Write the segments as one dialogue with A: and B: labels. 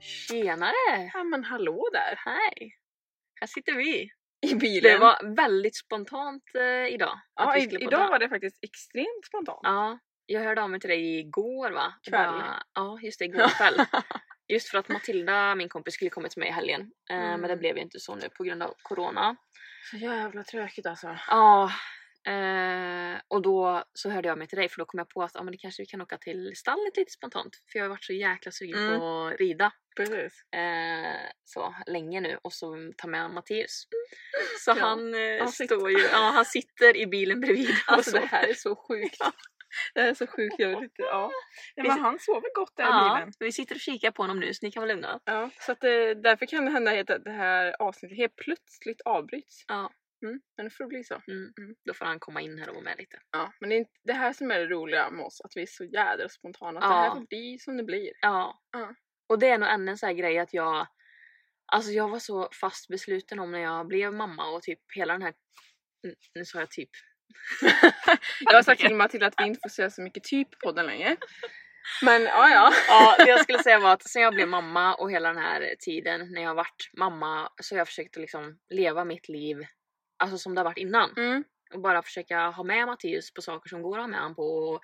A: Tjenare!
B: Ja men hallå där!
A: Hej! Här sitter vi.
B: I bilen.
A: Det var väldigt spontant eh, idag.
B: ja,
A: att vi
B: i,
A: skulle
B: idag
A: podda.
B: var det faktiskt extremt spontant.
A: Ja, jag hörde av mig till dig igår va? Och
B: Kväll.
A: bara- Ja, just det, igår kväll. Just för att Matilda, min kompis, skulle kommit med i helgen. Eh, Men det
B: Mm.
A: blev ju inte så nu på grund av Corona.
B: Så jävla tråkigt alltså.
A: Ja, eh, och då så hörde jag mig till dig för då kom jag på att ah, men det kanske vi kan åka till stallet lite spontant. För jag har varit så jäkla sugen
B: Mm.
A: på att rida.
B: Precis.
A: eh, så länge nu och så ta med Matteus. Så han, eh,
B: Han sitter.
A: står ju, ja, han sitter i bilen bredvid
B: Alltså
A: och
B: det här är så sjukt. det här är så sjukt jävligt. Ja. ja
A: Vi
B: men
A: sit-
B: han sover gott där i
A: Ja,
B: bilen.
A: vi sitter och kikar på honom nu så ni kan vara lugna.
B: Ja, så att, eh, därför kan det hända helt att det här avsnittet helt plötsligt avbryts.
A: Ja.
B: Mm, men det får bli så.
A: Mm.
B: Mm.
A: Då får han komma in här och vara med lite.
B: Ja, men det är inte- det här som är det roliga med oss, att vi är så jädra spontana. Att
A: Ja.
B: Det här får bli som det blir.
A: Ja.
B: Ja.
A: Och det är nog ännu en sån här grej att jag Alltså jag var så fast besluten om när jag blev mamma och typ hela den här... Mm, Nu sa jag typ.
B: Jag har sagt till Matilda att vi inte får säga så mycket typ på podden längre. Men ja, ja.
A: Ja, det jag skulle säga var att sen jag blev mamma och hela den här tiden när jag har varit mamma så har jag försökt att liksom leva mitt liv alltså som det har varit innan.
B: Mm.
A: Och bara försöka ha med Mattias på saker som går att ha med han på. Och,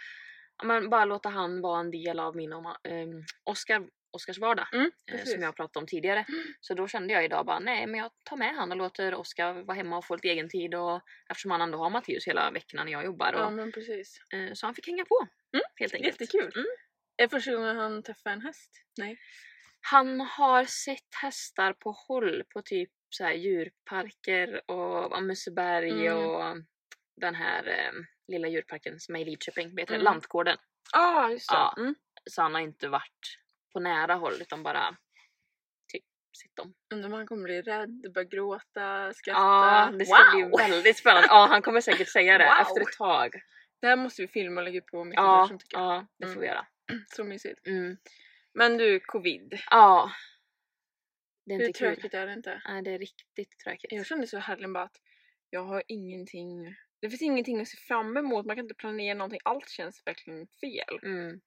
A: ja, men bara låta han vara en del av min och Ma- ehm, Oscar, Oscars vardag.
B: Mm,
A: eh,
B: precis.
A: Som jag pratade om tidigare. Så då kände jag idag bara nej men jag tar med han och låter Oskar vara hemma och få lite egen tid. Och, eftersom han ändå har Mattias hela veckan när jag jobbar. Och,
B: Ja, men precis.
A: eh, så han fick hänga på.
B: Mm,
A: Helt enkelt.
B: Jättekul.
A: Mm.
B: Är det första gången han träffar en häst? Nej.
A: Han har sett hästar på håll på typ så här djurparker och ja, Museberg
B: Mm.
A: och den här eh, lilla djurparken som är i Lidköping. Vet du,
B: Mm.
A: Lantgården.
B: Ja, ah, just det.
A: Ja.
B: Mm.
A: Så han har inte varit på nära håll utan bara typ sett dem.
B: Undrar om han kommer bli rädd, börja gråta, skratta.
A: Ja, det ska
B: wow!
A: bli väldigt spännande. Ja, han kommer säkert säga det
B: Wow.
A: efter ett tag.
B: Det här måste vi filma och lägga upp på mitt
A: Ja,
B: som tycker jag.
A: ja det får
B: Mm.
A: vi göra.
B: Så mysigt.
A: Mm.
B: Men du, covid.
A: Ja. Det är
B: Hur
A: inte kul.
B: tråkigt är det inte?
A: Nej, det är riktigt tråkigt.
B: Jag kände så härligen bara att jag har ingenting. Det finns ingenting att se fram emot. Man kan inte planera någonting. Allt känns verkligen fel.
A: Mm.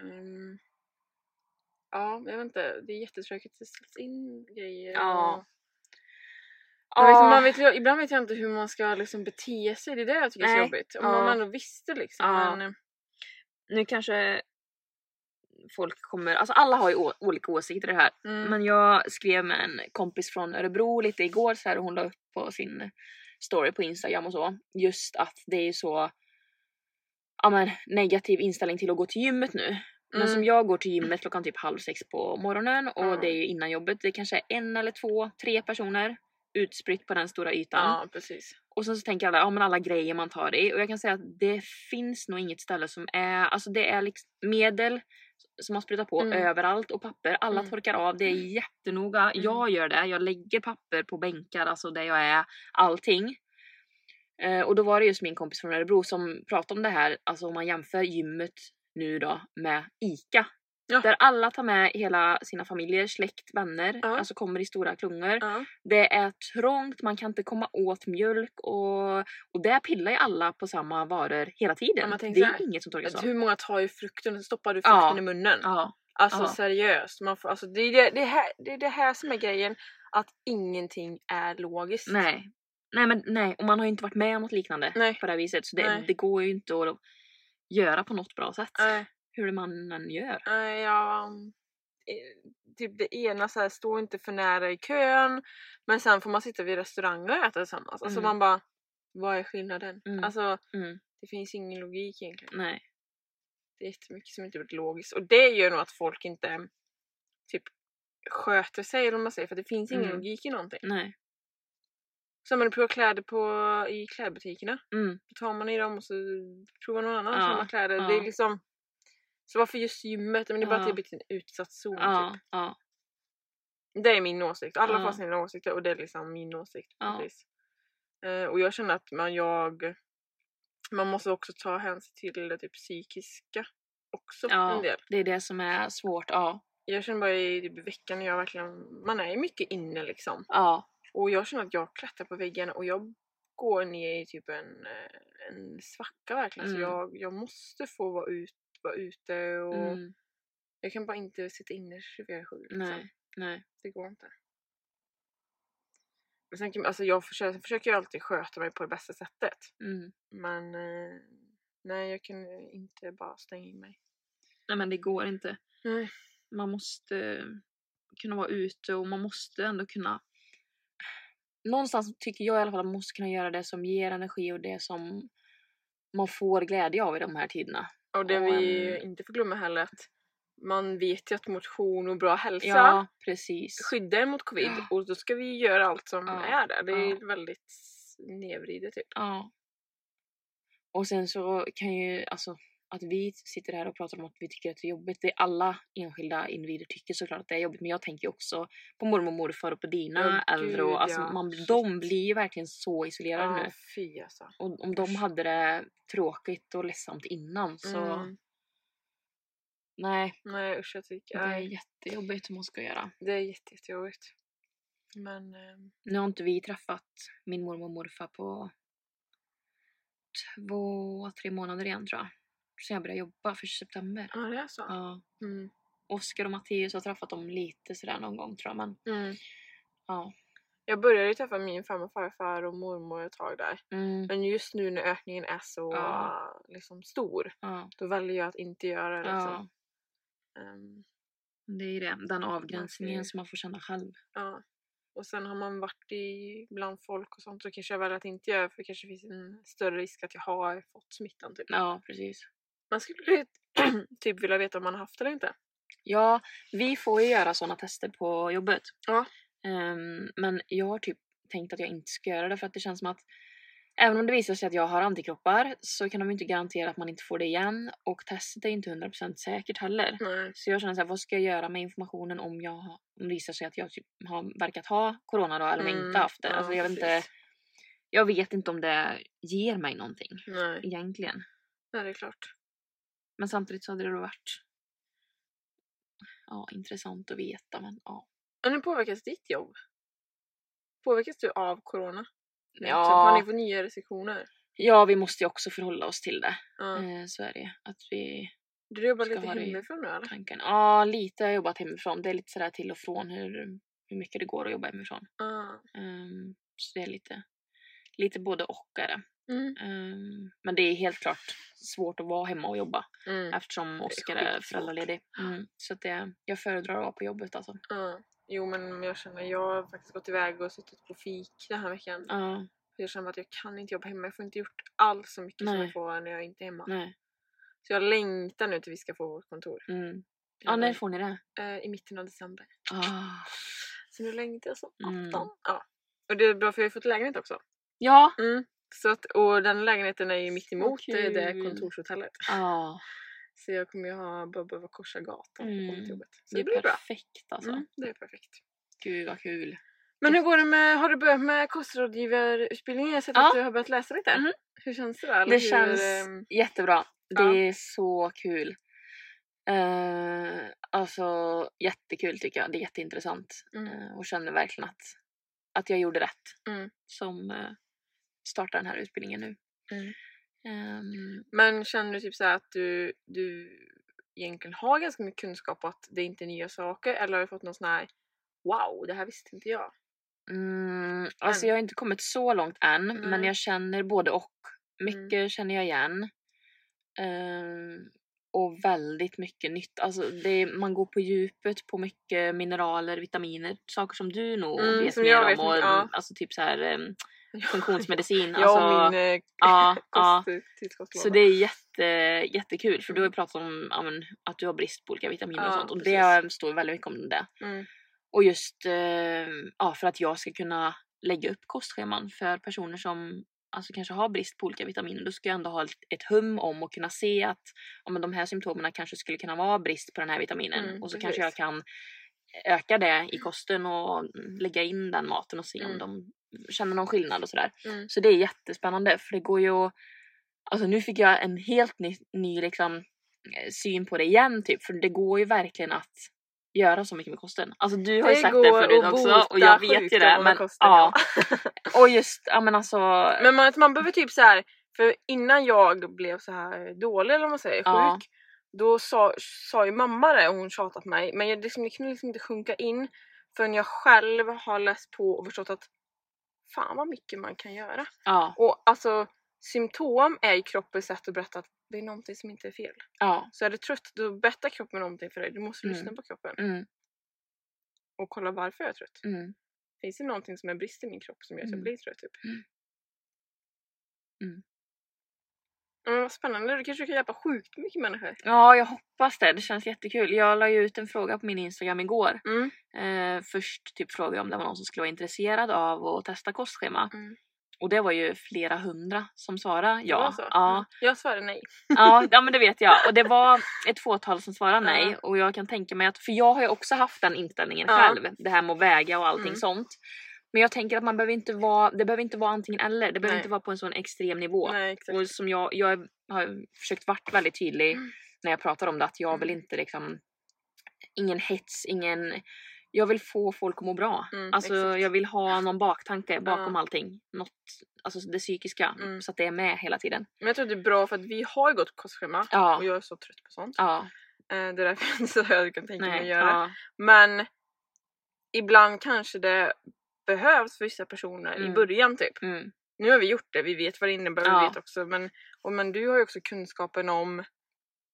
B: Mm. Ja, jag vet inte. Det är jättetråkigt. Det ställs in grejer.
A: Ja.
B: och- Man
A: Ja.
B: vet,
A: liksom
B: man vet, ibland vet jag inte hur man ska liksom bete sig, det är det jag tycker är
A: Nej.
B: så jobbigt. Om
A: Ja.
B: man ändå visste liksom.
A: Ja.
B: Men, eh,
A: nu kanske folk kommer, alltså alla har ju å- olika åsikter i det här.
B: mm.
A: Men jag skrev med en kompis från Örebro lite igår så här och hon la upp på sin story på Instagram och så. Just att det är så ja, men, negativ inställning till att gå till gymmet nu. Men
B: Mm.
A: som jag går till gymmet klockan typ halv sex på morgonen och
B: Ja.
A: det är ju innan jobbet. Det kanske är en eller två, tre personer utspritt på den stora ytan.
B: ja, precis.
A: Och sen så tänker alla, ja men alla grejer man tar i. Och jag kan säga att det finns nog inget ställe som är, alltså det är liksom medel som man sprutar på
B: Mm.
A: överallt och papper. Alla
B: Mm.
A: torkar av, det är jättenoga. Jag gör det, jag lägger papper på bänkar, alltså där jag är, allting. Eh, och då var det just min kompis från Örebro som pratade om det här, alltså om man jämför gymmet nu då med ICA.
B: Ja.
A: Där alla tar med hela sina familjer, släkt, vänner,
B: Ja.
A: alltså kommer i stora klungor.
B: Ja.
A: Det är trångt, man kan inte komma åt mjölk och, och där pillar ju alla på samma varor hela
B: Ja,
A: tiden.
B: man tänker
A: det
B: så här,
A: är inget som torkas
B: Att
A: av.
B: Hur många tar ju frukten och stoppar du frukten
A: Liksom. Ja.
B: i munnen?
A: Ja,
B: Alltså
A: Ja.
B: seriöst. Man får, alltså, det, är det, det, här, det är det här som är grejen. Att ingenting är logiskt.
A: nej. Nej, men, nej, och man har ju inte varit med om något liknande
B: Nej.
A: på det här viset så
B: Nej.
A: det, det går ju inte att göra på något bra sätt.
B: Nej,
A: Hur man än gör.
B: nej, ja, um, eh, typ det ena så här, stå inte för nära i kön. Men sen får man sitta vid restauranger och äta tillsammans. Alltså
A: Mm.
B: man bara, vad är skillnaden?
A: Mm.
B: Alltså
A: Mm,
B: det finns ingen logik egentligen.
A: nej.
B: Det är jättemycket som inte blir logiskt och det gör nog att folk inte typ sköter sig eller vad man säger för det finns ingen
A: Mm.
B: logik i någonting.
A: nej.
B: Som man provar kläder på, i klädbutikerna.
A: Mm,
B: Då tar man i dem och så provar någon annan
A: Ja,
B: samma kläder. Det är
A: ja.
B: liksom så varför just gymmet? Men det är bara att det
A: Ja.
B: har blivit en utsatt zon.
A: ja, ja,
B: Typ. Det är min åsikt. Alla får
A: Ja.
B: sina åsikter och det är liksom min åsikt.
A: Ja.
B: Precis. Eh, och jag känner att man, jag, man måste också ta hänsyn till det typ, psykiska också en del.
A: ja. Det är det som är svårt. Ja,
B: Jag känner bara i typ veckan jag verkligen, man är ju mycket inne liksom.
A: ja,
B: Och jag känner att jag klättrar på väggen och jag går ner i typ en, eh, en svacka verkligen. Så
A: Mm.
B: jag, jag måste få vara, ut, vara ute och
A: mm,
B: Jag kan bara inte sitta inne 24-7. liksom.
A: Nej, nej.
B: Det går inte. Men sen, kan- alltså jag försöker, sen försöker jag alltid sköta mig på det bästa sättet.
A: Mm.
B: Men eh, nej, jag kan inte bara stänga in mig.
A: Nej men det går inte.
B: Nej.
A: Man måste eh, kunna vara ute och man måste ändå kunna... Någonstans tycker jag i alla fall att man måste kunna göra det som ger energi och det som man får glädje av i de här tiderna.
B: Och det
A: Och
B: vi
A: en-
B: inte får glömma heller att man vet ju att motion och bra hälsa
A: Ja, precis.
B: skyddar mot covid
A: Ja.
B: och då ska vi göra allt som
A: Ja,
B: är där. Det är
A: ja.
B: väldigt nedvridet typ.
A: Ja. Och sen så kan ju alltså att vi sitter här och pratar om att vi tycker att det är jobbigt. Det är alla enskilda individer tycker såklart att det är jobbigt, men jag tänker ju också på mormor och morfar och på dina
B: Ja,
A: äldre
B: gud,
A: och alltså
B: ja.
A: man,
B: Shit.
A: de blir ju verkligen så isolerade
B: Ja,
A: nu.
B: fy alltså.
A: Och om de hade det tråkigt och ledsamt innan så
B: Mm.
A: nej,
B: Nej usch jag
A: det
B: tycker
A: är
B: nej,
A: jättejobbigt hur man ska göra.
B: det är jätte, jättejobbigt. Men ehm,
A: Nu har inte vi träffat min mormor och morfar på två, tre månader igen tror jag. Sen jag började jobba, första september.
B: ja det är så.
A: Ja.
B: Mm.
A: Oskar och Mattias har träffat dem lite sådär någon gång tror jag men
B: Mm.
A: ja.
B: Jag började ju träffa min farmor och farfar och mormor ett tag där.
A: Mm,
B: Men just nu när ökningen är så
A: Ja.
B: liksom, stor,
A: ja,
B: då väljer jag att inte göra det. Liksom.
A: ja,
B: Ehm,
A: det är ju det. Den avgränsningen som man får känna själv.
B: ja. Och sen har man varit i bland folk och sånt så kanske jag väljer att inte göra det, för det kanske finns en större risk att jag har fått smittan. Typ.
A: Ja, precis.
B: Man skulle typ vilja veta om man har haft det eller inte.
A: Ja, vi får ju göra sådana tester på jobbet.
B: Ja.
A: Ehm, men jag har typ tänkt att jag inte ska göra det för att det känns som att även om det visar sig att jag har antikroppar så kan de ju inte garantera att man inte får det igen och testet är ju inte 100% säkert heller.
B: Nej.
A: Så jag känner så här, vad ska jag göra med informationen om jag har- om det visar sig att jag typ har verkat ha corona då eller om jag
B: Mm,
A: inte haft det?
B: ja,
A: alltså jag vet inte.
B: precis.
A: Jag vet inte om det ger mig någonting
B: Nej.
A: egentligen.
B: Nej, det är klart.
A: Men samtidigt så hade det då varit ja, intressant att veta. Men ja.
B: Men hur påverkas ditt jobb? Påverkas du av corona? Typ, har ni
A: Ja,
B: fått nya restriktioner?
A: ja, vi måste ju också förhålla oss till det.
B: Ja.
A: Eh, så är det ju. Att vi
B: Du jobbar
A: ska
B: lite
A: ha det i
B: hemifrån nu eller?
A: tanken. Ja, lite har jag jobbat hemifrån. Det är lite sådär till och från hur, hur mycket det går att jobba hemifrån.
B: Ja.
A: Ehm, så det är lite, lite både och är det.
B: Mm.
A: Ehm, men det är helt klart svårt att vara hemma och jobba
B: Mm.
A: eftersom Oskar är
B: skitsvårt.
A: föräldraledig. Mm, så att det, jag föredrar att vara på jobbet alltså.
B: Ja. Jo men jag känner, jag har faktiskt gått iväg och suttit på fik den här veckan.
A: Ja,
B: Jag känner att jag kan inte jobba hemma, jag får inte gjort alls så mycket som
A: Nej.
B: jag får när jag inte är hemma.
A: nej.
B: Så jag längtar nu till vi ska få vårt kontor.
A: Mm. Ja, när får ni det?
B: Eh, I mitten av december.
A: Ah.
B: Så nu längtar jag som
A: Mm.
B: attan. Ja. Och det är bra för jag har ju fått lägenhet också.
A: Ja!
B: Mm. Så att, och den lägenheten är ju mitt emot eh, det
A: kul.
B: kontorshotellet.
A: Ah.
B: Så jag kommer ju ha, bara behöva korsa gatan
A: Mm.
B: mm. till jobbet. Så
A: Det
B: det, blir
A: är
B: bra.
A: perfekt alltså.
B: Mm, det är perfekt.
A: Gud vad kul.
B: Men hur går det med, har du börjat med kostrådgivarutbildningen? Jag har sett
A: Ja.
B: att du har börjat läsa lite.
A: Mhm.
B: Hur känns det? Eller
A: Det
B: hur,
A: känns
B: ehm,
A: jättebra. Det
B: ja.
A: är så kul. Uh, alltså jättekul tycker jag. Det är jätteintressant.
B: mm.
A: Eh, och känner verkligen att, att jag gjorde rätt
B: Mm.
A: som eh, startar den här utbildningen nu.
B: Mm.
A: Ehm,
B: Men känner du typ så här att du, du egentligen har ganska mycket kunskap och att det inte är nya saker? Eller har du fått någon sån här wow, det här visste inte jag?
A: mm, alltså
B: Än.
A: jag har inte kommit så långt än men
B: Nej.
A: jag känner både och.
B: Mm.
A: Mycket känner jag igen. Ehm, och väldigt mycket nytt. Alltså det, man går på djupet på mycket mineraler, vitaminer, saker som du nog
B: Mm,
A: vet
B: som
A: mer
B: jag
A: om.
B: vet
A: och,
B: mycket, ja.
A: Alltså typ så här ehm, funktionsmedicin.
B: Jag
A: alltså,
B: och min eh,
A: ja, ja.
B: kosttillskottslåda.
A: Så det är jätte, jättekul för du har ju
B: Mm.
A: pratat om ja, men, att du har brist på olika vitaminer och
B: Ja,
A: sånt och
B: precis.
A: det står väldigt mycket om det.
B: Mm.
A: Och just eh, ja, för att jag ska kunna lägga upp kostscheman för personer som alltså, kanske har brist på olika vitaminer. Då ska jag ändå ha ett, ett hum om och kunna se att ja, men de här symptomen kanske skulle kunna vara brist på den här vitaminen
B: Mm,
A: och så kanske jag
B: precis.
A: kan öka det i kosten och mm, lägga in den maten och se om
B: Mm.
A: de känner någon skillnad och sådär.
B: Mm.
A: Så det är jättespännande för det går ju att- Alltså nu fick jag en helt ny, ny liksom, eh, syn på det igen typ för det går ju verkligen att göra så mycket med kosten. Alltså du har ju
B: Det
A: sagt
B: går
A: det förut
B: att
A: också och jag
B: bota
A: vet ju det.
B: sjukdomar med
A: Men,
B: kosten,
A: ja. och just, ja men alltså.
B: Men man, man behöver typ så här. för innan jag blev så här dålig eller vad man säger,
A: Ja.
B: sjuk. då sa, sa ju mamma det och hon tjatat på mig men jag, liksom, det kunde liksom inte sjunka in förrän jag själv har läst på och förstått att fan vad mycket man kan göra.
A: Ja,
B: Och alltså symptom är ju kroppens sätt att berätta att det är någonting som inte är fel.
A: ja.
B: Så är du trött då berättar kroppen någonting för dig. Du måste
A: Mm.
B: lyssna på kroppen
A: Mm,
B: och kolla varför jag är trött.
A: mm,
B: Finns det någonting som är brist i min kropp som gör att jag
A: Mm.
B: blir trött typ?
A: Mm. Mm.
B: Ja, Men vad spännande, du kanske kan hjälpa sjukt mycket människor.
A: ja, jag hoppas det. Det känns jättekul. Jag la ju ut en fråga på min Instagram igår.
B: Mm.
A: Eh, först typ frågade jag om det var någon som skulle vara intresserad av att testa kostschema.
B: Mm.
A: Och det var ju flera hundra som svarade
B: Det var
A: ja.
B: så. Mm.
A: Ja,
B: Jag svarar nej.
A: ja, ja, men det vet jag. Och det var ett fåtal som svarade
B: Ja.
A: nej. Och jag kan tänka mig att, för jag har ju också haft den inställningen
B: Ja.
A: själv. Det här med att väga och allting
B: Mm.
A: sånt. Men jag tänker att man behöver inte vara, det behöver inte vara antingen eller. Det behöver
B: Nej.
A: inte vara på en sån extrem nivå.
B: Nej exakt.
A: Och som jag, jag är- har försökt vara väldigt tydlig
B: Mm.
A: när jag pratar om det att jag vill
B: Mm.
A: inte liksom ingen hets, ingen jag vill få folk att må bra.
B: Mm,
A: alltså
B: exakt.
A: jag vill ha någon baktanke bakom
B: Ja.
A: allting. Något, alltså det psykiska
B: Mm.
A: så att det är med hela tiden.
B: Men jag tror att det är bra för att vi har ju gått kostschema
A: Ja,
B: och jag är så trött på sånt.
A: ja,
B: Eh, Det är därför jag inte så jag kan tänka mig att
A: nej,
B: göra.
A: ja,
B: Men ibland kanske det behövs för vissa personer i
A: Mm.
B: början typ.
A: mm,
B: Nu har vi gjort det, vi vet vad det innebär, vi
A: Ja.
B: vet också men, och, men du har ju också kunskapen om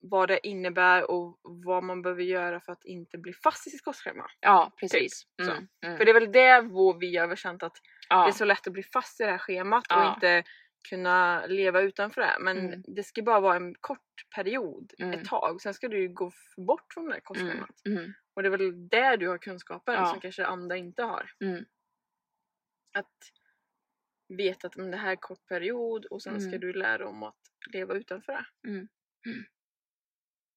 B: vad det innebär och vad man behöver göra för att inte bli fast i sitt kostschema.
A: ja, precis.
B: Typ så.
A: Mm, mm,
B: För det är väl det vår vi har överkänt att det är
A: ja,
B: så lätt att bli fast i det här schemat och
A: Ja.
B: inte kunna leva utanför det. Men
A: Mm.
B: det ska bara vara en kort period,
A: Mm.
B: ett tag. Sen ska du ju gå f- bort från det här kostschemat.
A: mm, mm,
B: Och det är väl där du har kunskapen
A: Ja.
B: som kanske andra inte har.
A: Mm.
B: Att veta att men, det här är en kort period och sen ska
A: Mm.
B: du lära om att leva utanför det.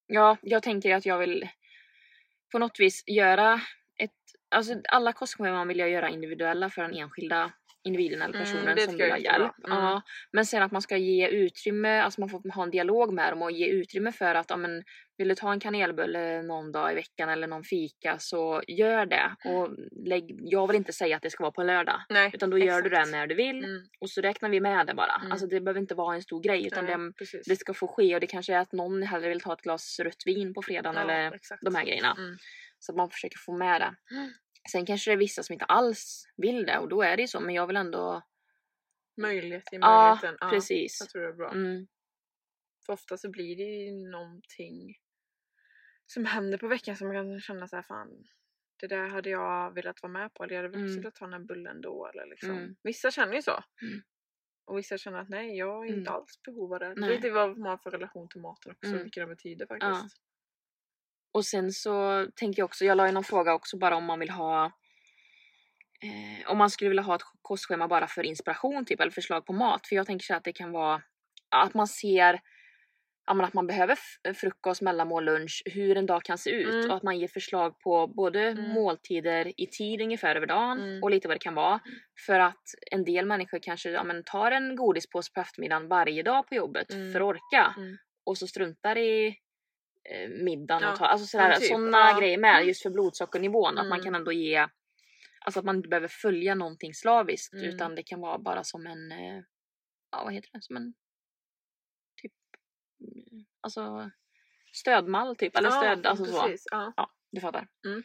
A: ja, jag tänker att jag vill på något vis göra ett, alltså alla kostscheman vill jag göra individuella för den enskilda individen eller
B: Mm,
A: personen
B: det
A: som
B: tycker
A: vill
B: jag
A: ha
B: är jättebra.
A: hjälp.
B: Mm.
A: Ja, men sen att man ska ge utrymme, alltså man får ha en dialog med dem och ge utrymme för att ja, men, vill du ta en kanelbulle någon dag i veckan eller någon fika så gör det. Och
B: Mm.
A: lägg, jag vill inte säga att det ska vara på en lördag.
B: Nej,
A: Utan då gör du det
B: exakt.
A: när du vill
B: Mm.
A: och så räknar vi med det bara.
B: Mm.
A: Alltså det behöver inte vara en stor grej utan
B: Nej,
A: det,
B: precis.
A: det ska få ske och det kanske är att någon hellre vill ta ett glas rött vin på fredagen
B: Ja,
A: eller
B: exakt.
A: de här grejerna.
B: Mm.
A: Så att man försöker få med det.
B: Mm.
A: Sen kanske det är vissa som inte alls vill det och då är det ju så men jag vill ändå...
B: Möjlighet i
A: Ja,
B: möjligheten. Ja,
A: precis.
B: Jag tror det är bra.
A: Mm,
B: För ofta så blir det ju någonting som händer på veckan som man kan känna så här fan det där hade jag velat vara med på eller jag hade
A: Mm.
B: också velat ta den här bullen då eller liksom.
A: Mm.
B: Vissa känner ju så.
A: Mm.
B: Och vissa känner att nej jag har inte
A: Mm.
B: alls behov av det. Det är
A: Nej.
B: lite vad man har för relation till maten också
A: Mm.
B: vilket det betyder faktiskt.
A: Och sen så tänker jag också, jag la ju någon fråga också bara om man vill ha eh, om man skulle vilja ha ett kostschema bara för inspiration typ eller förslag på mat. För jag tänker så här att det kan vara att man ser ja, men att man behöver f- frukost, mellanmål, lunch, hur en dag kan se ut
B: Mm.
A: och att man ger förslag på både
B: Mm.
A: måltider i tid ungefär över dagen
B: Mm.
A: och lite vad det kan vara. För att en del människor kanske ja, men tar en godispåse på eftermiddagen varje dag på jobbet
B: Mm.
A: för att orka
B: Mm.
A: och så struntar i eh, middagen
B: Ja,
A: och tar, alltså
B: men
A: sådär,
B: typ,
A: sådana
B: ja.
A: grejer med just för blodsockernivån att man
B: Mm.
A: kan ändå ge Alltså att man inte behöver följa någonting slaviskt
B: Mm.
A: utan det kan vara bara som en, eh, ja vad heter det, som en typ, mm, alltså stödmall typ eller
B: Ja,
A: stöd,
B: men
A: alltså så.
B: precis. Ja.
A: Du fattar.
B: Mm.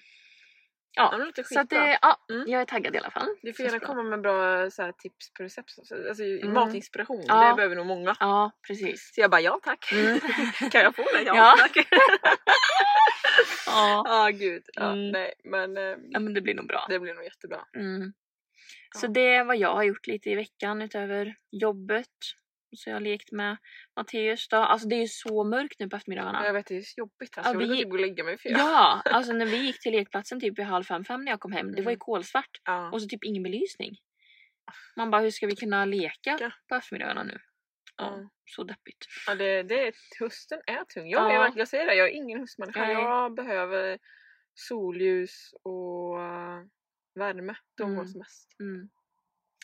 A: Ja,
B: Ja, men det låter
A: så att
B: skitbra.
A: det, ja,
B: Mm.
A: jag är taggad i alla fall.
B: Du får
A: Känns
B: gärna
A: bra.
B: komma med bra så här, tips på recept. Alltså, alltså
A: Mm.
B: matinspiration,
A: Ja.
B: det behöver nog många.
A: Ja, precis.
B: Så jag bara ja tack.
A: Mm.
B: kan jag få det? Ja,
A: Ja.
B: tack.
A: ja.
B: Ja gud. Ja,
A: Mm.
B: Nej men eh,
A: ja, men det blir nog bra.
B: det blir nog jättebra.
A: Mm. Så
B: Ja.
A: det är vad jag har gjort lite i veckan utöver jobbet. Och Så jag har lekt med Matteus då. Alltså det är ju så mörkt nu på eftermiddagarna.
B: Jag vet det är så jobbigt alltså.
A: Ja,
B: jag vill
A: vi-
B: typ gå och lägga mig för jag.
A: Ja, alltså när vi gick till lekplatsen typ vid halv fem, fem när jag kom hem, det var ju
B: Mm.
A: kolsvart
B: Ja.
A: och så typ ingen belysning. Man bara, hur ska vi kunna leka
B: Ja.
A: på eftermiddagarna nu? Ja,
B: Ja.
A: så deppigt.
B: Ja, det, det är, hösten är tung. Jag, är
A: Ja.
B: verkligen- jag säger det, jag är ingen höstmänniska.
A: Nej.
B: Jag behöver solljus och eh, värme. De
A: Mm.
B: går som mest.
A: Mm.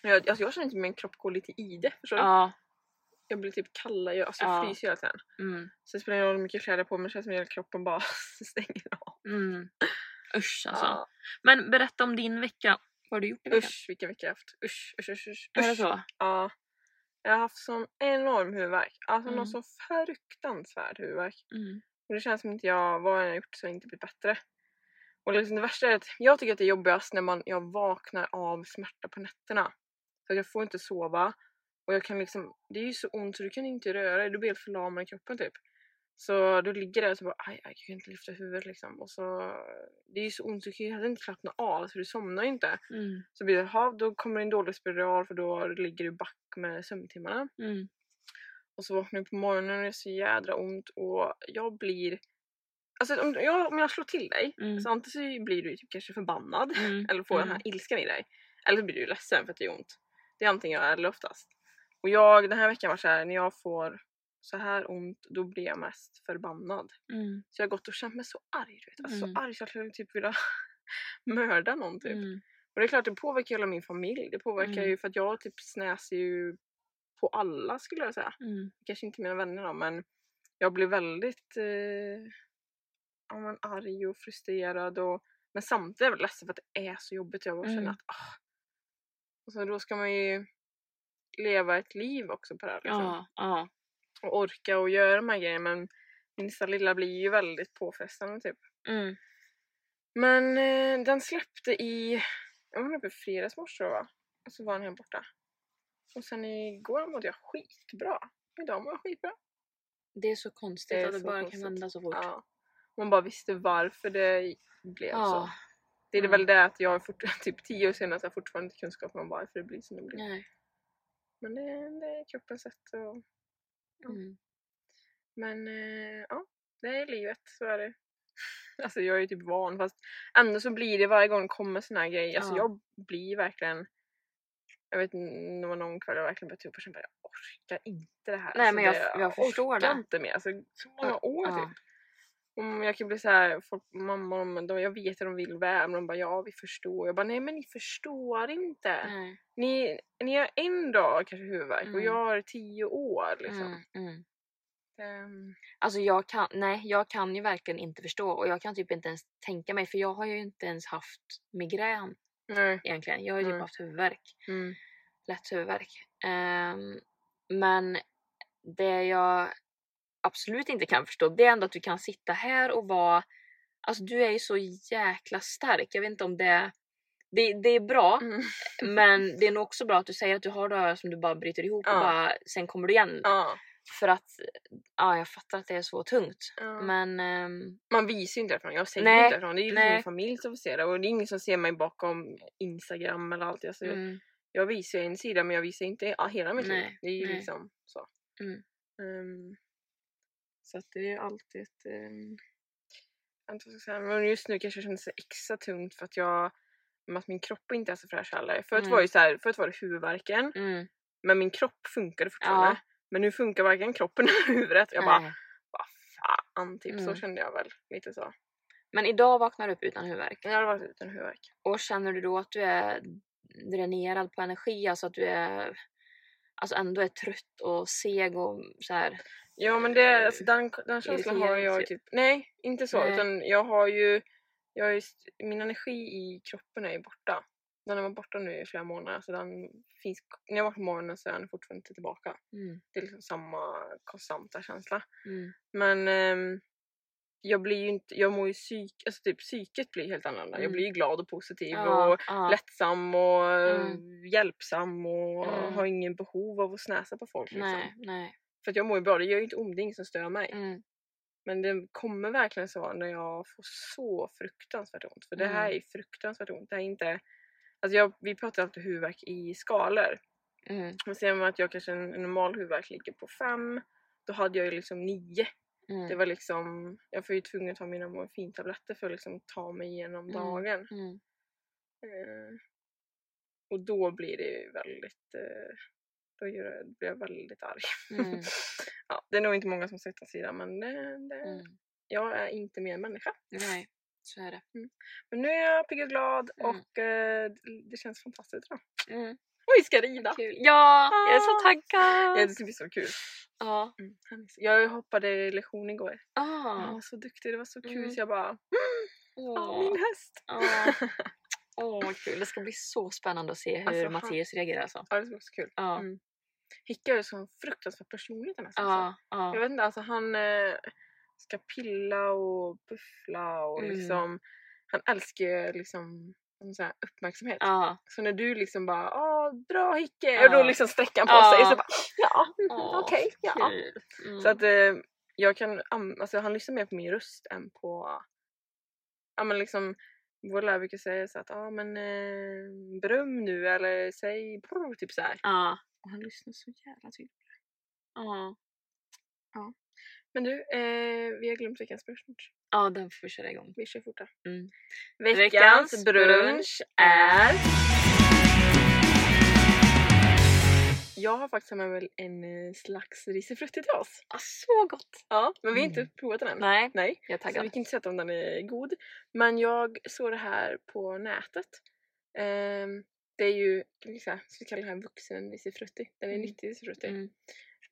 B: Jag, alltså, jag känner inte min kropp går lite i det. Förstår du?
A: Ja.
B: Jag blir typ kalla, jag alltså,
A: Ja.
B: fryser hela tiden.
A: Mm.
B: Sen spelar det ingen roll hur mycket kläder jag har på mig, det känns som att hela kroppen bara stänger av.
A: Mm. Usch alltså.
B: Ja.
A: Men berätta om din vecka. Vad har du gjort i veckan?
B: Usch vilken vecka jag har haft. Usch, usch, usch. usch.
A: Är det
B: usch.
A: så?
B: Ja. Jag har haft sån enorm huvudvärk. Alltså någon
A: Mm.
B: så fruktansvärd huvudvärk.
A: Mm.
B: Och det känns som att jag, vad jag än har gjort så har jag inte blivit bättre. Och liksom det värsta är att jag tycker att det är jobbigast när man, jag vaknar av smärta på nätterna. Så att jag får inte sova. Och jag kan liksom, det är ju så ont så du kan inte röra dig, du blir helt förlamad i kroppen typ. Så du ligger där och så bara aj, aj, jag kan inte lyfta huvudet liksom. Och så, det är ju så ont så du kan ju heller inte slappna av så du somnar ju inte.
A: Mm.
B: Så blir det, ha, då kommer det en dålig spiral för då ligger du back med sömntimmarna.
A: Mm.
B: Och så vaknar jag på morgonen och det är så jädra ont och jag blir... Alltså om jag, om jag slår till dig,
A: Mm.
B: så antingen så blir du typ kanske förbannad
A: Mm.
B: eller får den
A: Mm.
B: här ilskan i dig. Eller så blir du ledsen för att det gör ont. Det är antingen jag eller oftast. Och jag, den här veckan var så här, när jag får så här ont då blir jag mest förbannad.
A: Mm.
B: Så jag har gått och känt mig så arg du vet. Alltså
A: Mm.
B: så arg så att jag typ vilja mörda någon typ.
A: Mm.
B: Och det är klart det påverkar ju hela min familj. Det påverkar
A: Mm.
B: ju för att jag typ snäser ju på alla skulle jag säga
A: Mm.
B: kanske inte mina vänner då, men jag blir väldigt eh, ja, men arg och frustrerad och men samtidigt är jag väldigt ledsen för att det är så jobbigt. Jag bara
A: Mm.
B: känner att ah. och så då ska man ju leva ett liv också på det här, liksom.
A: Ja, ja.
B: och orka och göra de här grejerna men minsta lilla blir ju väldigt påfrestande typ.
A: Mm.
B: Men eh, den släppte i, jag var uppe i fredags morse då va? Och så var den här borta. Och sen igår mådde jag skitbra. Idag mår jag skitbra.
A: Det är så konstigt
B: Det är
A: att det
B: så
A: bara
B: konstigt.
A: kan hända så fort.
B: Ja. Man bara visste varför det blev så.
A: Ja,
B: Det är
A: Mm.
B: väl det att jag fort, typ tio år senare så har jag fortfarande inte kunskap om varför det blir som det blir.
A: nej.
B: Men det, det är kroppens sätt och,
A: Mm.
B: Men eh, ja, det är livet, så är det. Alltså jag är ju typ van fast ändå så blir det varje gång det kommer såna här grejer. Alltså
A: Ja.
B: jag blir verkligen jag vet n- det var någon kväll jag verkligen började upp och kände bara, jag orkar inte det här.
A: Nej,
B: alltså,
A: men jag-
B: det,
A: jag förstår
B: orkar
A: det.
B: inte mer. Alltså, så många år
A: ja.
B: typ. Om jag kan bli så här, folk, mamma och de, de, jag vet att de vill väl, men de bara ja vi förstår. Jag bara nej men ni förstår inte.
A: Nej.
B: Ni, ni har en dag kanske huvudvärk och
A: Mm.
B: jag har tio år liksom.
A: Mm. Mm.
B: Ehm,
A: Alltså jag kan, nej, jag kan ju verkligen inte förstå och jag kan typ inte ens tänka mig för jag har ju inte ens haft migrän
B: nej.
A: egentligen. Jag har ju typ
B: Nej.
A: haft huvudvärk,
B: Mm.
A: lätt huvudvärk. Ehm, men det jag absolut inte kan förstå det är ändå att du kan sitta här och vara, alltså du är ju så jäkla stark. Jag vet inte om det, det, det är bra
B: Mm.
A: men det är nog också bra att du säger att du har dagar som du bara bryter ihop och
B: Ja.
A: bara, sen kommer du igen.
B: Ja,
A: För att, ja jag fattar att det är så tungt.
B: ja.
A: Men ehm,
B: Man visar ju inte därifrån, jag säger
A: Nej,
B: inte därifrån. Det är ju liksom
A: nej.
B: min familj som får se det och det är ingen som ser mig bakom instagram eller allt. Alltså,
A: mm.
B: Jag visar ju en sida men jag visar inte ja, hela mitt liv.
A: Nej,
B: Det är ju
A: nej.
B: liksom så.
A: Mm.
B: Ehm, så att det är alltid ett... Um, jag vet inte vad jag ska säga, men just nu kanske det känns extra tungt för att jag med att min kropp inte är så fräsch heller. Förut
A: Mm.
B: var ju så här, förut var det huvudvärken
A: Mm.
B: men min kropp funkade fortfarande.
A: Ja.
B: Men nu funkar varken kroppen eller huvudet. Jag bara,
A: Nej.
B: vad fan typ. Så
A: Mm.
B: kände jag väl lite så. Men
A: Men idag vaknar du upp utan huvudvärk
B: jag hade varit utan huvudvärk.
A: och känner du då att du är dränerad på energi, alltså att du är alltså ändå är trött och seg och så här.
B: Ja men det,
A: Eh,
B: alltså, den, den känslan har
A: irriterad,
B: jag
A: typ.
B: typ, nej inte så
A: Nej.
B: utan jag har ju, jag har ju, st- min energi i kroppen är ju borta. Den har varit borta nu i flera månader så den finns, när jag vaknar på morgonen så är den fortfarande inte tillbaka.
A: Mm.
B: Det är liksom samma konstanta känsla.
A: Mm.
B: Men ehm, jag blir ju inte, jag mår ju psyk, alltså typ psyket blir helt annorlunda. Jag
A: Mm.
B: blir ju glad och positiv och
A: ja.
B: lättsam och eh,
A: Mm.
B: hjälpsam och
A: Mm.
B: har ingen behov av att snäsa på folk liksom.
A: Nej, nej.
B: För att jag mår ju bra, det gör ju inte ont, det är ingen som stör mig.
A: Mm.
B: Men det kommer verkligen så när jag får så fruktansvärt ont. För det här
A: Mm.
B: är fruktansvärt ont. Det här är inte... Alltså jag, vi pratar alltid huvudvärk i skalor.
A: Mm.
B: Men ser man att jag kanske en en normal huvudvärk ligger på 5, då hade jag ju liksom 9.
A: Mm.
B: Det var liksom... Jag var ju tvungen att ta mina morfintabletter för att liksom ta mig igenom
A: Mm.
B: dagen.
A: Mm.
B: Eh, och då blir det ju väldigt... Eh, då gör jag, blir jag väldigt arg.
A: Mm.
B: ja, det är nog inte många som sett den sidan men det, det,
A: Mm.
B: jag är inte mer människa.
A: Nej, så är det.
B: Men nu är jag pigg och glad
A: Mm.
B: och eh, det känns fantastiskt idag.
A: Mm.
B: Och vi ska rida!
A: Kul. Ja, jag är
B: Ah.
A: så
B: Ja,
A: taggad!
B: det ska bli så kul.
A: Ja.
B: Mm. han är så- Jag hoppade lektion igår. Han
A: Ah.
B: var så duktig, det var så kul
A: Mm.
B: så jag bara mm, ah,
A: Åh,
B: min häst!
A: ah. Åh, vad kul. Det ska bli så spännande att se hur
B: Alltså, han-
A: Mattias reagerar alltså.
B: Ja det var så kul.
A: Ja,
B: Mm. Hicka är ju så fruktansvärt personlig den här
A: ja,
B: Jag
A: ja.
B: vet inte alltså han eh, ska pilla och buffla och
A: Mm.
B: liksom han älskar ju liksom en sån här uppmärksamhet.
A: Ja.
B: Så när du liksom bara "Ah, dra Hicke
A: Ja.
B: och då liksom sträcker han på
A: Ja.
B: sig så bara ja
A: Åh,
B: mm, okej ja.
A: kul. Mm.
B: Så att eh, jag kan, an- alltså han lyssnar mer på min röst än på, ja men liksom vår lärare brukar säga så att ja ah, men eh, beröm nu eller säg brr, typ så här.
A: Ja.
B: Och han lyssnar så jävla tydligt.
A: Ja.
B: Men du, eh, vi har glömt veckans brunch.
A: ja, Ah, den får vi köra igång.
B: Vi kör fort då.
A: Mm.
B: Veckans,
A: Veckans
B: brunch
A: brunch
B: är... Jag har faktiskt med mig en eh, slags risifrutti till oss.
A: Ah, så gott!
B: Ja, men vi har inte
A: Mm.
B: provat den än.
A: Nej,
B: Nej.
A: jag är
B: Så
A: taggad.
B: vi kan inte säga om den är god. Men jag såg det här på nätet. Ehm, det är ju, kan vi säga, så vi kallar det här vuxen risifrutti. Den är
A: Mm.
B: nyttig risifrutti.
A: Mm.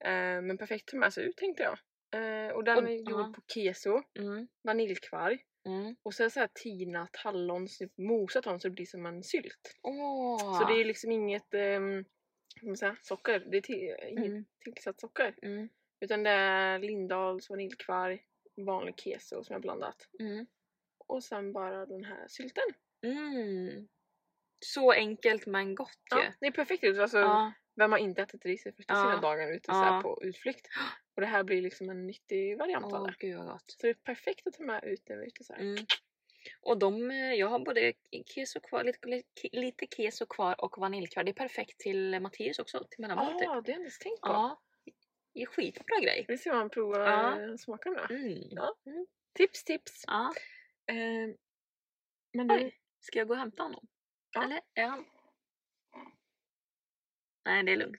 B: Ehm, men perfekt för med sig ut tänkte jag. Ehm, och den
A: Och-
B: är gjord
A: ja.
B: på keso,
A: Mm.
B: vaniljkvarg
A: Mm.
B: och sen så här tinat hallon, så typ mosat dem så det blir som en sylt.
A: Åh.
B: Så det är liksom inget ehm, vad ska man säga, socker, det är till, inget
A: Mm.
B: tillsatt socker.
A: Mm.
B: Utan det är Lindahls vaniljkvarg, vanlig keso som jag blandat.
A: Mm.
B: Och sen bara den här sylten.
A: Mm. Så enkelt men gott ju.
B: Ja, det är perfekt ut. Alltså,
A: Ja.
B: Vem har inte ätit ris efter
A: Ja.
B: sina dagar ute så
A: Ja.
B: här på utflykt? Och det här blir liksom en nyttig variant
A: Åh
B: av det.
A: gud vad gott.
B: Så det är perfekt att ta med ut när vi är ute så här.
A: Mm. Och de, eh, jag har både keso kvar, lite, lite- lite keso kvar och vaniljkvar. Det är perfekt till Mattias också, till
B: Ah,
A: mellanmål
B: det
A: typ.
B: har jag inte tänkt på.
A: Ja. Det är skitbra grej.
B: Vi ser om man provar
A: Ja.
B: ja. smaken då.
A: Mm.
B: Ja. Tips, tips!
A: Ja.
B: Ehm, men du,
A: Oj, ska jag gå och hämta honom?
B: Ja.
A: Eller är han... Nej, det är lugnt.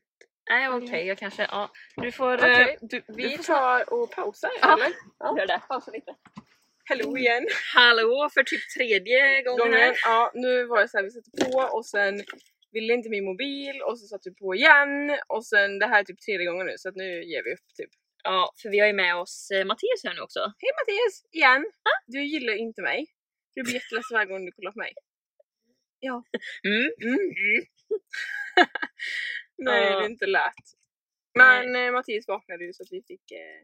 A: Nej, okej, jag kanske... Ja. Du får... eh,
B: Okej,
A: du, vi
B: vi
A: får snacka-
B: tar och pausar
A: Ja.
B: eller? Ja.
A: Gör det. Pausa lite.
B: Hello igen!
A: Hallå för typ tredje gången.
B: Gången.
A: här.
B: Ja, nu var det så här, vi satte på och sen ville inte min mobil och så satte vi på igen och sen det här är typ tredje gången nu så att nu ger vi upp typ.
A: Ja, för vi har ju med oss eh, Mattias här nu också.
B: Hej Mattias! Igen! Du gillar inte mig. Du blir jätteledsen varje gång du kollar på mig.
A: Mm.
B: Nej,
A: Ja.
B: det är inte lätt.
A: Nej.
B: Men eh, Mattias vaknade ju så att vi fick eh,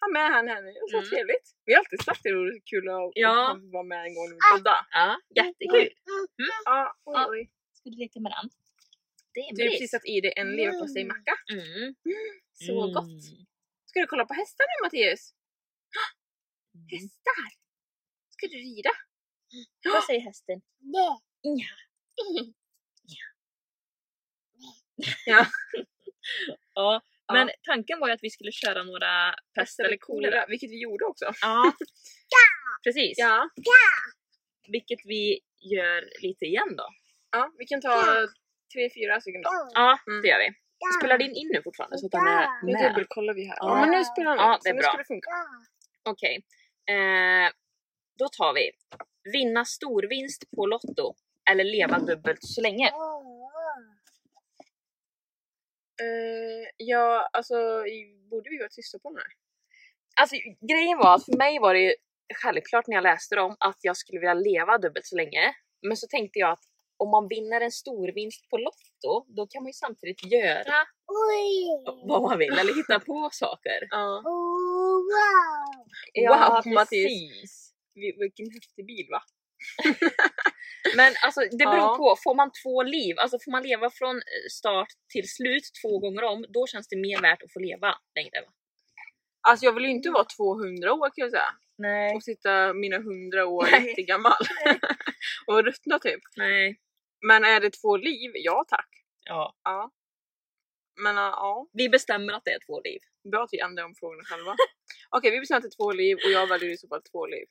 B: ha med han här nu. Och så
A: Mm.
B: trevligt! Vi har alltid sagt det vore så kul att
A: Ja.
B: att vara med en gång när vi poddar.
A: Ja, jättekul.
B: Ja, oj,
A: Ja.
B: oj.
A: Ska du leka med den? Det är
B: Du har
A: en
B: precis satt i dig en leverpastejmacka.
A: mm.
B: Så
A: Mm.
B: gott! Ska du kolla på hästar nu Mattias?
A: Mm.
B: Hästar! Ska du rida?
A: Vad säger hästen? Ja. Ja.
B: Ja.
A: ja. Men tanken var ju att vi skulle köra några pest eller kolera.
B: Vilket vi gjorde också.
A: Ja. Precis.
B: Ja,
A: Vilket vi gör lite igen då.
B: ja vi kan ta tre, fyra stycken då.
A: Ja,
B: Mm.
A: det gör vi. Spelar din in nu fortfarande så att den är
B: Nu
A: med?
B: dubbelkollar vi här. Ja,
A: Ja.
B: men nu spelar han
A: Ja,
B: in,
A: det är
B: så nu
A: bra.
B: ska det funka.
A: Okej. Eh, då tar vi. Vinna storvinst på Lotto eller leva dubbelt så länge.
B: Eh, ja, alltså i- borde vi vara tysta på den här?
A: Alltså grejen var att för mig var det ju självklart när jag läste dem att jag skulle vilja leva dubbelt så länge. Men så tänkte jag att om man vinner en storvinst på Lotto, då kan man ju samtidigt göra vad man vill eller hitta på saker.
B: Ja.
A: Ja,
B: Wow, Mattis.
A: precis.
B: Vi, vilken häftig bil va?
A: Men alltså det beror
B: Ja.
A: på, får man två liv, alltså får man leva från eh, start till slut två gånger om, då känns det mer värt att få leva längre. Va?
B: Alltså jag vill ju inte vara 200 år kan jag säga.
A: Nej.
B: Och sitta mina 100 år
A: Nej.
B: jättegammal. och ruttna typ.
A: Nej.
B: Men är det två liv? Ja tack.
A: Ja.
B: Ja. Men ja, ja,
A: Vi bestämmer att det är två liv.
B: bra att vi ändrar om frågorna själva. Okej vi bestämmer att det är två liv och jag väljer i så fall två liv.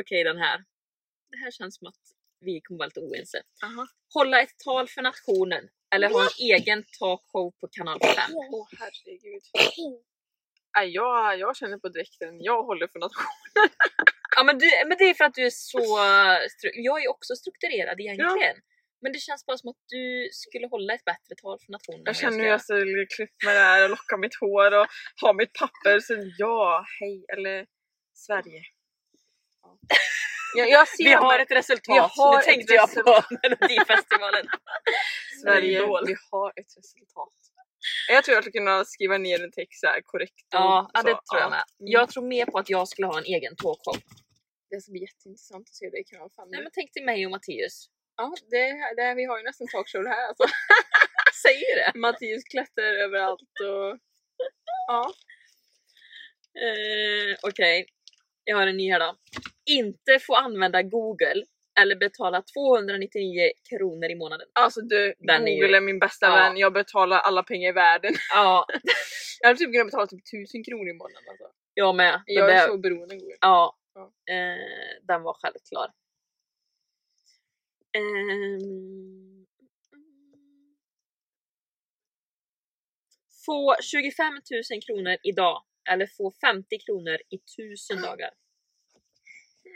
A: Okej den här. Det här känns som att vi kommer vara lite oense.
B: Aha.
A: Hålla ett tal för nationen eller ha en egen talkshow på kanal 5.
B: Åh herregud. Nej, jag, jag känner på direkten, jag håller för något
A: Ja men, du, men det är för att du är så... stru- Jag är också strukturerad egentligen. Men det känns bara som att du skulle hålla ett bättre tal för nationen. än vad
B: Jag känner hur
A: ska
B: jag skulle klippa mig där och locka mitt hår och ha mitt papper. Så ja, hej, eller Sverige. Ja. Jag, jag ser
A: Vi har
B: bara
A: ett resultat.
B: Vi har
A: nu tänkte
B: ett
A: jag på Melodifestivalen.
B: Sverige,
A: Idol.
B: vi har ett resultat. Jag tror jag skulle kunna skriva ner en text så här korrekt. och
A: Ja, alltså, ja
B: så,
A: det tror jag
B: ja.
A: med. Mm. Jag tror mer på att jag skulle ha en egen talkshow.
B: Det ska bli jätteintressant att se dig i kanalfall.
A: Nej men tänk till mig och Mattias.
B: Ja, det, här- det, här- vi har ju nästan talkshow det här alltså.
A: Säger det!
B: Mattias klättrar överallt och... Ja.
A: Eh, Okej, jag har en ny här då. Inte få använda Google eller betala 299 kronor i månaden.
B: Alltså du,
A: Den är ju-
B: Google är, min bästa
A: ja.
B: vän. Jag betalar alla pengar i världen.
A: Ja,
B: Jag hade typ kunnat betala typ 1000 kronor i månaden alltså.
A: jag med. Den
B: Jag
A: där-
B: är så beroende av Google.
A: Ja,
B: Ja.
A: eh, den var självklar. Ehm. Få 25 000 kronor idag eller få 50 kronor i 1000 dagar.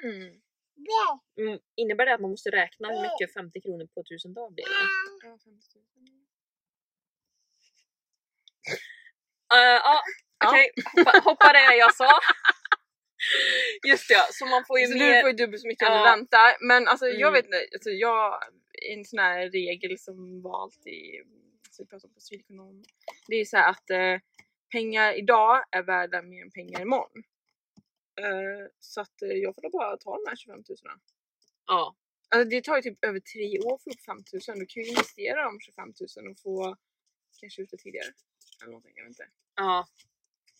B: Mm.
A: Mm, innebär det att man måste räkna hur mycket 50 kronor på 1000 dagar blir? eller?
B: Ja, 50 000.
A: Eh, ja,
B: Ja.
A: okej. Hoppa, hoppa det jag sa. Just det, ja, så man får ju
B: Så du
A: mer...
B: får ju dubbelt så mycket om du
A: Ja.
B: väntar. Men alltså jag
A: Mm.
B: vet inte, alltså, jag, en sån här regel som valt i, så vi pratade om på civilekonom. Det är ju så här att eh, pengar idag är värda mer än pengar imorgon. Eh, så att eh, jag får då bara ta de här 25 000.
A: Ja,
B: Alltså det tar ju typ över tre år för upp 5 000. Du kan ju investera de 25 000 och få kanske ut det tidigare. Eller någonting, jag vet inte.
A: ja,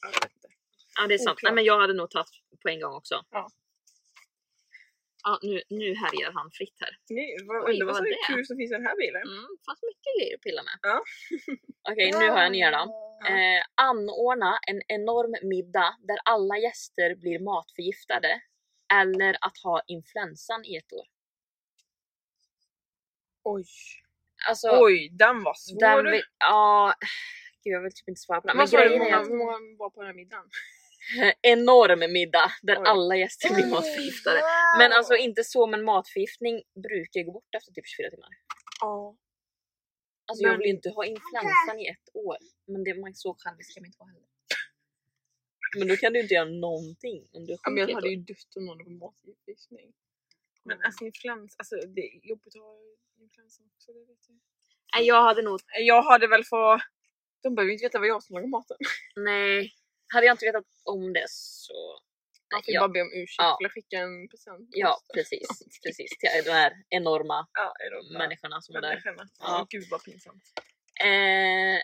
B: Ja, Jag vet inte.
A: ja, det är sant.
B: Oklart.
A: Nej, men jag hade nog tagit på en gång också.
B: Ja.
A: Ja, nu, nu härjar han fritt här.
B: Nej, vad,
A: Oj,
B: undrar vad
A: vad
B: som
A: var det?
B: är kul som finns i den här bilen.
A: Mm, fanns mycket grejer att pilla med.
B: Ja.
A: Okej, nu har jag nya då. Eh, anordna en enorm middag där alla gäster blir matförgiftade eller att ha influensan i ett år.
B: Oj.
A: Alltså,
B: Oj, den var svår.
A: den vill, ja, gud, jag vill typ inte svara på den. Men
B: Vad sa du?
A: grejen
B: Hur
A: är att
B: många- hur många var på den här middagen?
A: enorm middag där
B: Oj.
A: alla gäster blir matförgiftade. Men alltså inte så, men matförgiftning brukar gå bort efter typ 24 timmar.
B: Ja.
A: Alltså jag
B: Men-
A: vill ju inte ha influensan i ett år. Men det man så självisk kan man inte vara heller. Men då kan du inte göra någonting om du är
B: Ja,
A: sjuk
B: men
A: i
B: jag
A: ett
B: hade
A: år.
B: ju dött om någon var matförgiftning.
A: Mm.
B: Men alltså influens, alltså det är jobbigt att ha influensa också. Det vet jag.
A: Nej, jag hade nog...
B: jag hade väl fått... De behöver ju inte veta vad jag som lagar maten.
A: Nej. Hade jag inte vetat om det så...
B: Man får ju
A: ja,
B: bara be om ursäkt
A: Ja.
B: eller skicka en present.
A: ja, precis. Precis. Till de här enorma
B: ja är de där
A: människorna som var där.
B: människorna.
A: Ja.
B: Gud vad pinsamt.
A: Eh,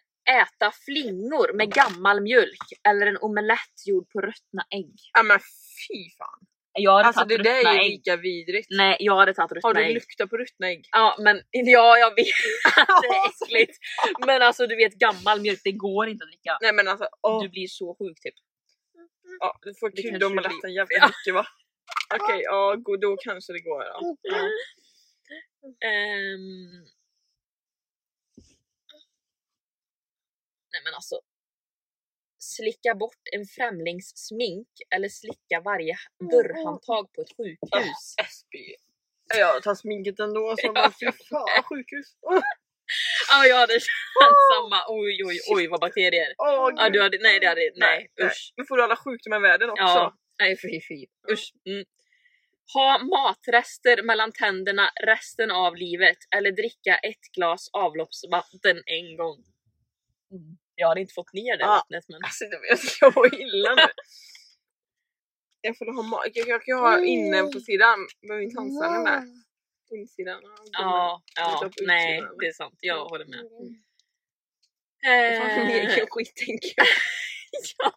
A: äta flingor med gammal mjölk eller en omelett gjord på ruttna ägg.
B: Ja men fy fan.
A: Jag hade
B: Alltså det
A: tagit
B: där
A: ruttna
B: är ju
A: ägg.
B: lika vidrigt.
A: Nej, jag hade tagit
B: Har
A: ruttna
B: du
A: ägg.
B: luktat på ruttna ägg?
A: Ja, men ja, jag vet att det är
B: Ja, alltså. så-
A: äckligt. Men alltså du vet gammal mjölk, det går inte att dricka.
B: Nej men alltså åh.
A: Du blir så sjuk typ.
B: Ja, du får
A: Det
B: kul
A: kanske
B: om
A: blir-
B: lätten jävla
A: Ja.
B: mycket va? Okej, ja go- då kanske det går. Ja. Ja.
A: Ehm. Nej men alltså. Slicka bort en främlings smink eller slicka varje dörrhandtag på ett sjukhus.
B: SB. Jag tar sminket ändå så
A: Ja.
B: men fy fan sjukhus. Åh
A: Ja, jag hade känt samma. Oj, oj, oj vad bakterier.
B: åh,
A: Ja,
B: gud.
A: du hade, nej, det hade, nej, usch.
B: Nu får du alla sjukdomar i världen också.
A: Ja, nej fy fy. Usch. Mm. Ha matrester mellan tänderna resten av livet eller dricka ett glas avloppsvatten en gång. Mm. Jag hade inte fått ner det
B: Ja.
A: vattnet men...
B: Alltså du vet, jag mår illa nu. Jag får ha ma- jag, jag kan ju ha inne
A: Mm.
B: på sidan, behöver inte handsarna med. Insidan. ja,
A: Ja, ja,
B: Utan på
A: nej
B: utsidan,
A: det är sant. Jag håller med.
B: Det fanns en
A: Eh,
B: egen skit tänker jag.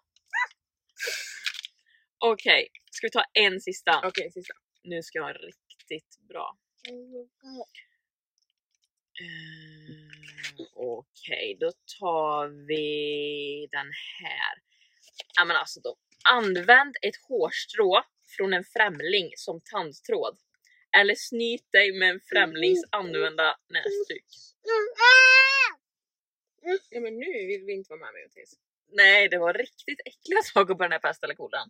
A: Okej, ska vi ta en sista?
B: Okej, sista.
A: Nu ska jag ha en riktigt bra. Eh, Okej, då tar vi den här. Ja, men alltså då. Använd ett hårstrå från en främling som tandtråd. Eller snyt dig med en främlings använda näsduk.
B: Ja, men nu vill vi inte vara med mig tills.
A: Nej, det var riktigt äckliga saker på den här pest eller kolan.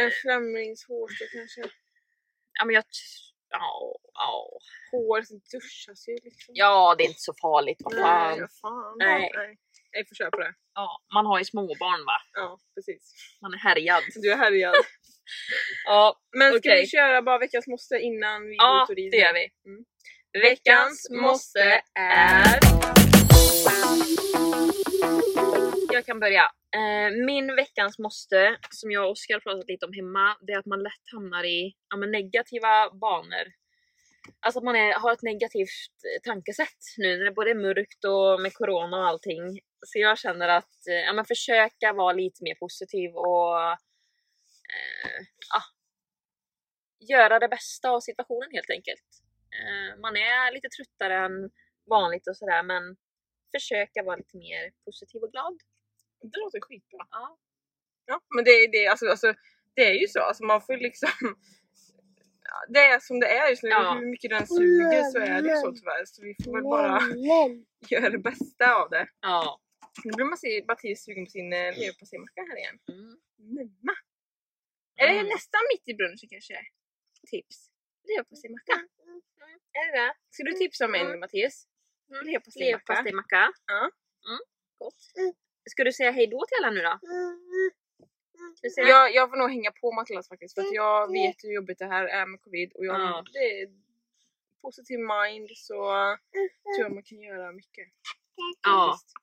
B: En främlingshårstrå Äh, kanske.
A: Ja, men jag... t- Ja, ja.
B: Hår som duschas ju liksom.
A: ja, det är inte så farligt. Vad
B: Nej,
A: fan.
B: vad fan.
A: Nej.
B: Nej. Nej, får köra på det.
A: Ja, man har ju småbarn va?
B: Ja, precis.
A: Man är härjad.
B: Du är härjad.
A: Ja,
B: Men ska
A: Okej.
B: vi köra bara veckans måste innan vi
A: ja
B: går ut och rider?
A: det gör vi.
B: Mm.
A: Veckans måste är... Jag kan börja. Eh, Min veckans måste, som jag och Oskar har pratat lite om hemma, det är att man lätt hamnar i ja, men negativa banor. Alltså att man är, har ett negativt eh, tankesätt nu när det både är mörkt och med corona och allting. Så jag känner att eh, ja, men försöka vara lite mer positiv och eh, ja, göra det bästa av situationen helt enkelt. Eh, man är lite tröttare än vanligt och sådär men försöka vara lite mer positiv och glad.
B: Det låter skitbra.
A: Ja.
B: Ja, men det, det, alltså, alltså, det är ju så, alltså, man får ju liksom... Ja, Det är som det är just nu,
A: Ja.
B: hur mycket den suger så är det så tyvärr. Så vi får väl bara göra det bästa av det.
A: Ja.
B: Nu blir man se, Mattias sugen på sin eh, leverpastejmacka här igen.
A: Mm.
B: Mamma!
A: Mm.
B: Är det nästan mitt i brunchen kanske? Tips? Leverpastejmacka?
A: Är det det?
B: Ska du tipsa om en
A: Mm.
B: Mattias?
A: Mm.
B: Leverpastejmacka?
A: Leverpastejmacka.
B: Ja.
A: Mm. Gott. Ska du säga hejdå till alla nu då? Ska du säga?
B: Jag, jag får nog hänga på Mattias faktiskt för att jag vet hur jobbigt det här är med covid och jag
A: Ja.
B: det är positiv mind så tror jag man kan göra mycket.
A: Ja,
B: faktiskt.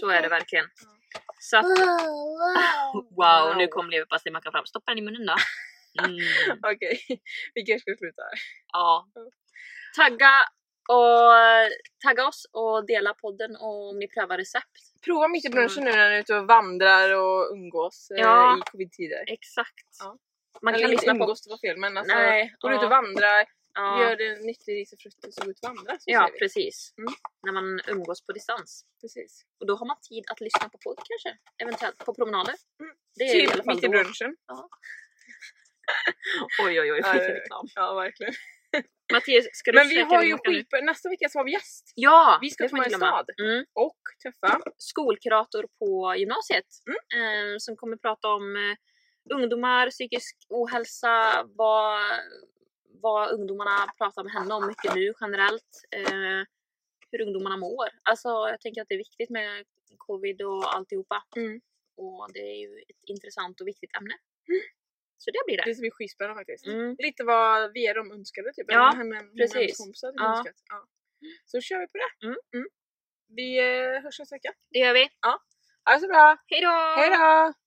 A: så är det verkligen. Så att,
C: verkligen.
A: Mm. wow, nu
B: Wow.
A: kom leverpastejmackan fram. Stoppa den i munnen då. Mm.
B: Okej, vi kanske ska sluta här.
A: Ja. Tagga, och, tagga oss och dela podden om ni prövar recept.
B: Prova mitt i brunchen nu när ni är ute och vandrar och umgås eh,
A: Ja.
B: i covid-tider.
A: Exakt.
B: Ja.
A: Man
B: Eller
A: kan
B: inte
A: lyssna på...
B: umgås, det var fel men alltså
A: Nej,
B: går du ut och
A: ja,
B: vandrar,
A: ja.
B: gör det nyttig ris och frukt och så gå ut och vandra. Så
A: Ja,
B: säger vi.
A: precis.
B: Mm.
A: När man umgås på distans.
B: precis.
A: Och då har man tid att lyssna på podd kanske. Eventuellt på promenader.
B: Mm.
A: Det är i alla
B: Typ
A: fall
B: mitt i
A: då.
B: brunchen.
A: Oj oj oj,
B: Ja,
A: vilken
B: ja, ja.
A: reklam.
B: Ja verkligen.
A: Mattias, ska du
B: Men vi
A: försöka
B: har ju
A: ringa Mackan nu?
B: skit nästa vecka så har vi gäst
A: Ja!
B: Vi ska
A: det får
B: till
A: man
B: en
A: inte glömma.
B: stad.
A: Mm.
B: och träffa
A: Skolkurator på gymnasiet. Eh, som kommer prata om eh, ungdomar, psykisk ohälsa, vad, vad ungdomarna pratar med henne om mycket nu generellt. Eh, hur ungdomarna mår. Alltså jag tänker att det är viktigt med covid och alltihopa.
B: Mm.
A: Och det är ju ett intressant och viktigt ämne. Så det blir det.
B: Det ska bli skitspännande faktiskt.
A: Mm.
B: Lite vad vi är de önskade typ.
A: Ja,
B: Eller vad henne- henne och
A: precis.
B: hennes kompisar hade
A: Ja.
B: önskat. Ja. Så kör vi på det.
A: Mm.
B: Vi eh, hörs nästa vecka.
A: Det gör vi.
B: Ha det så bra.
A: Hej då!
B: Hej då!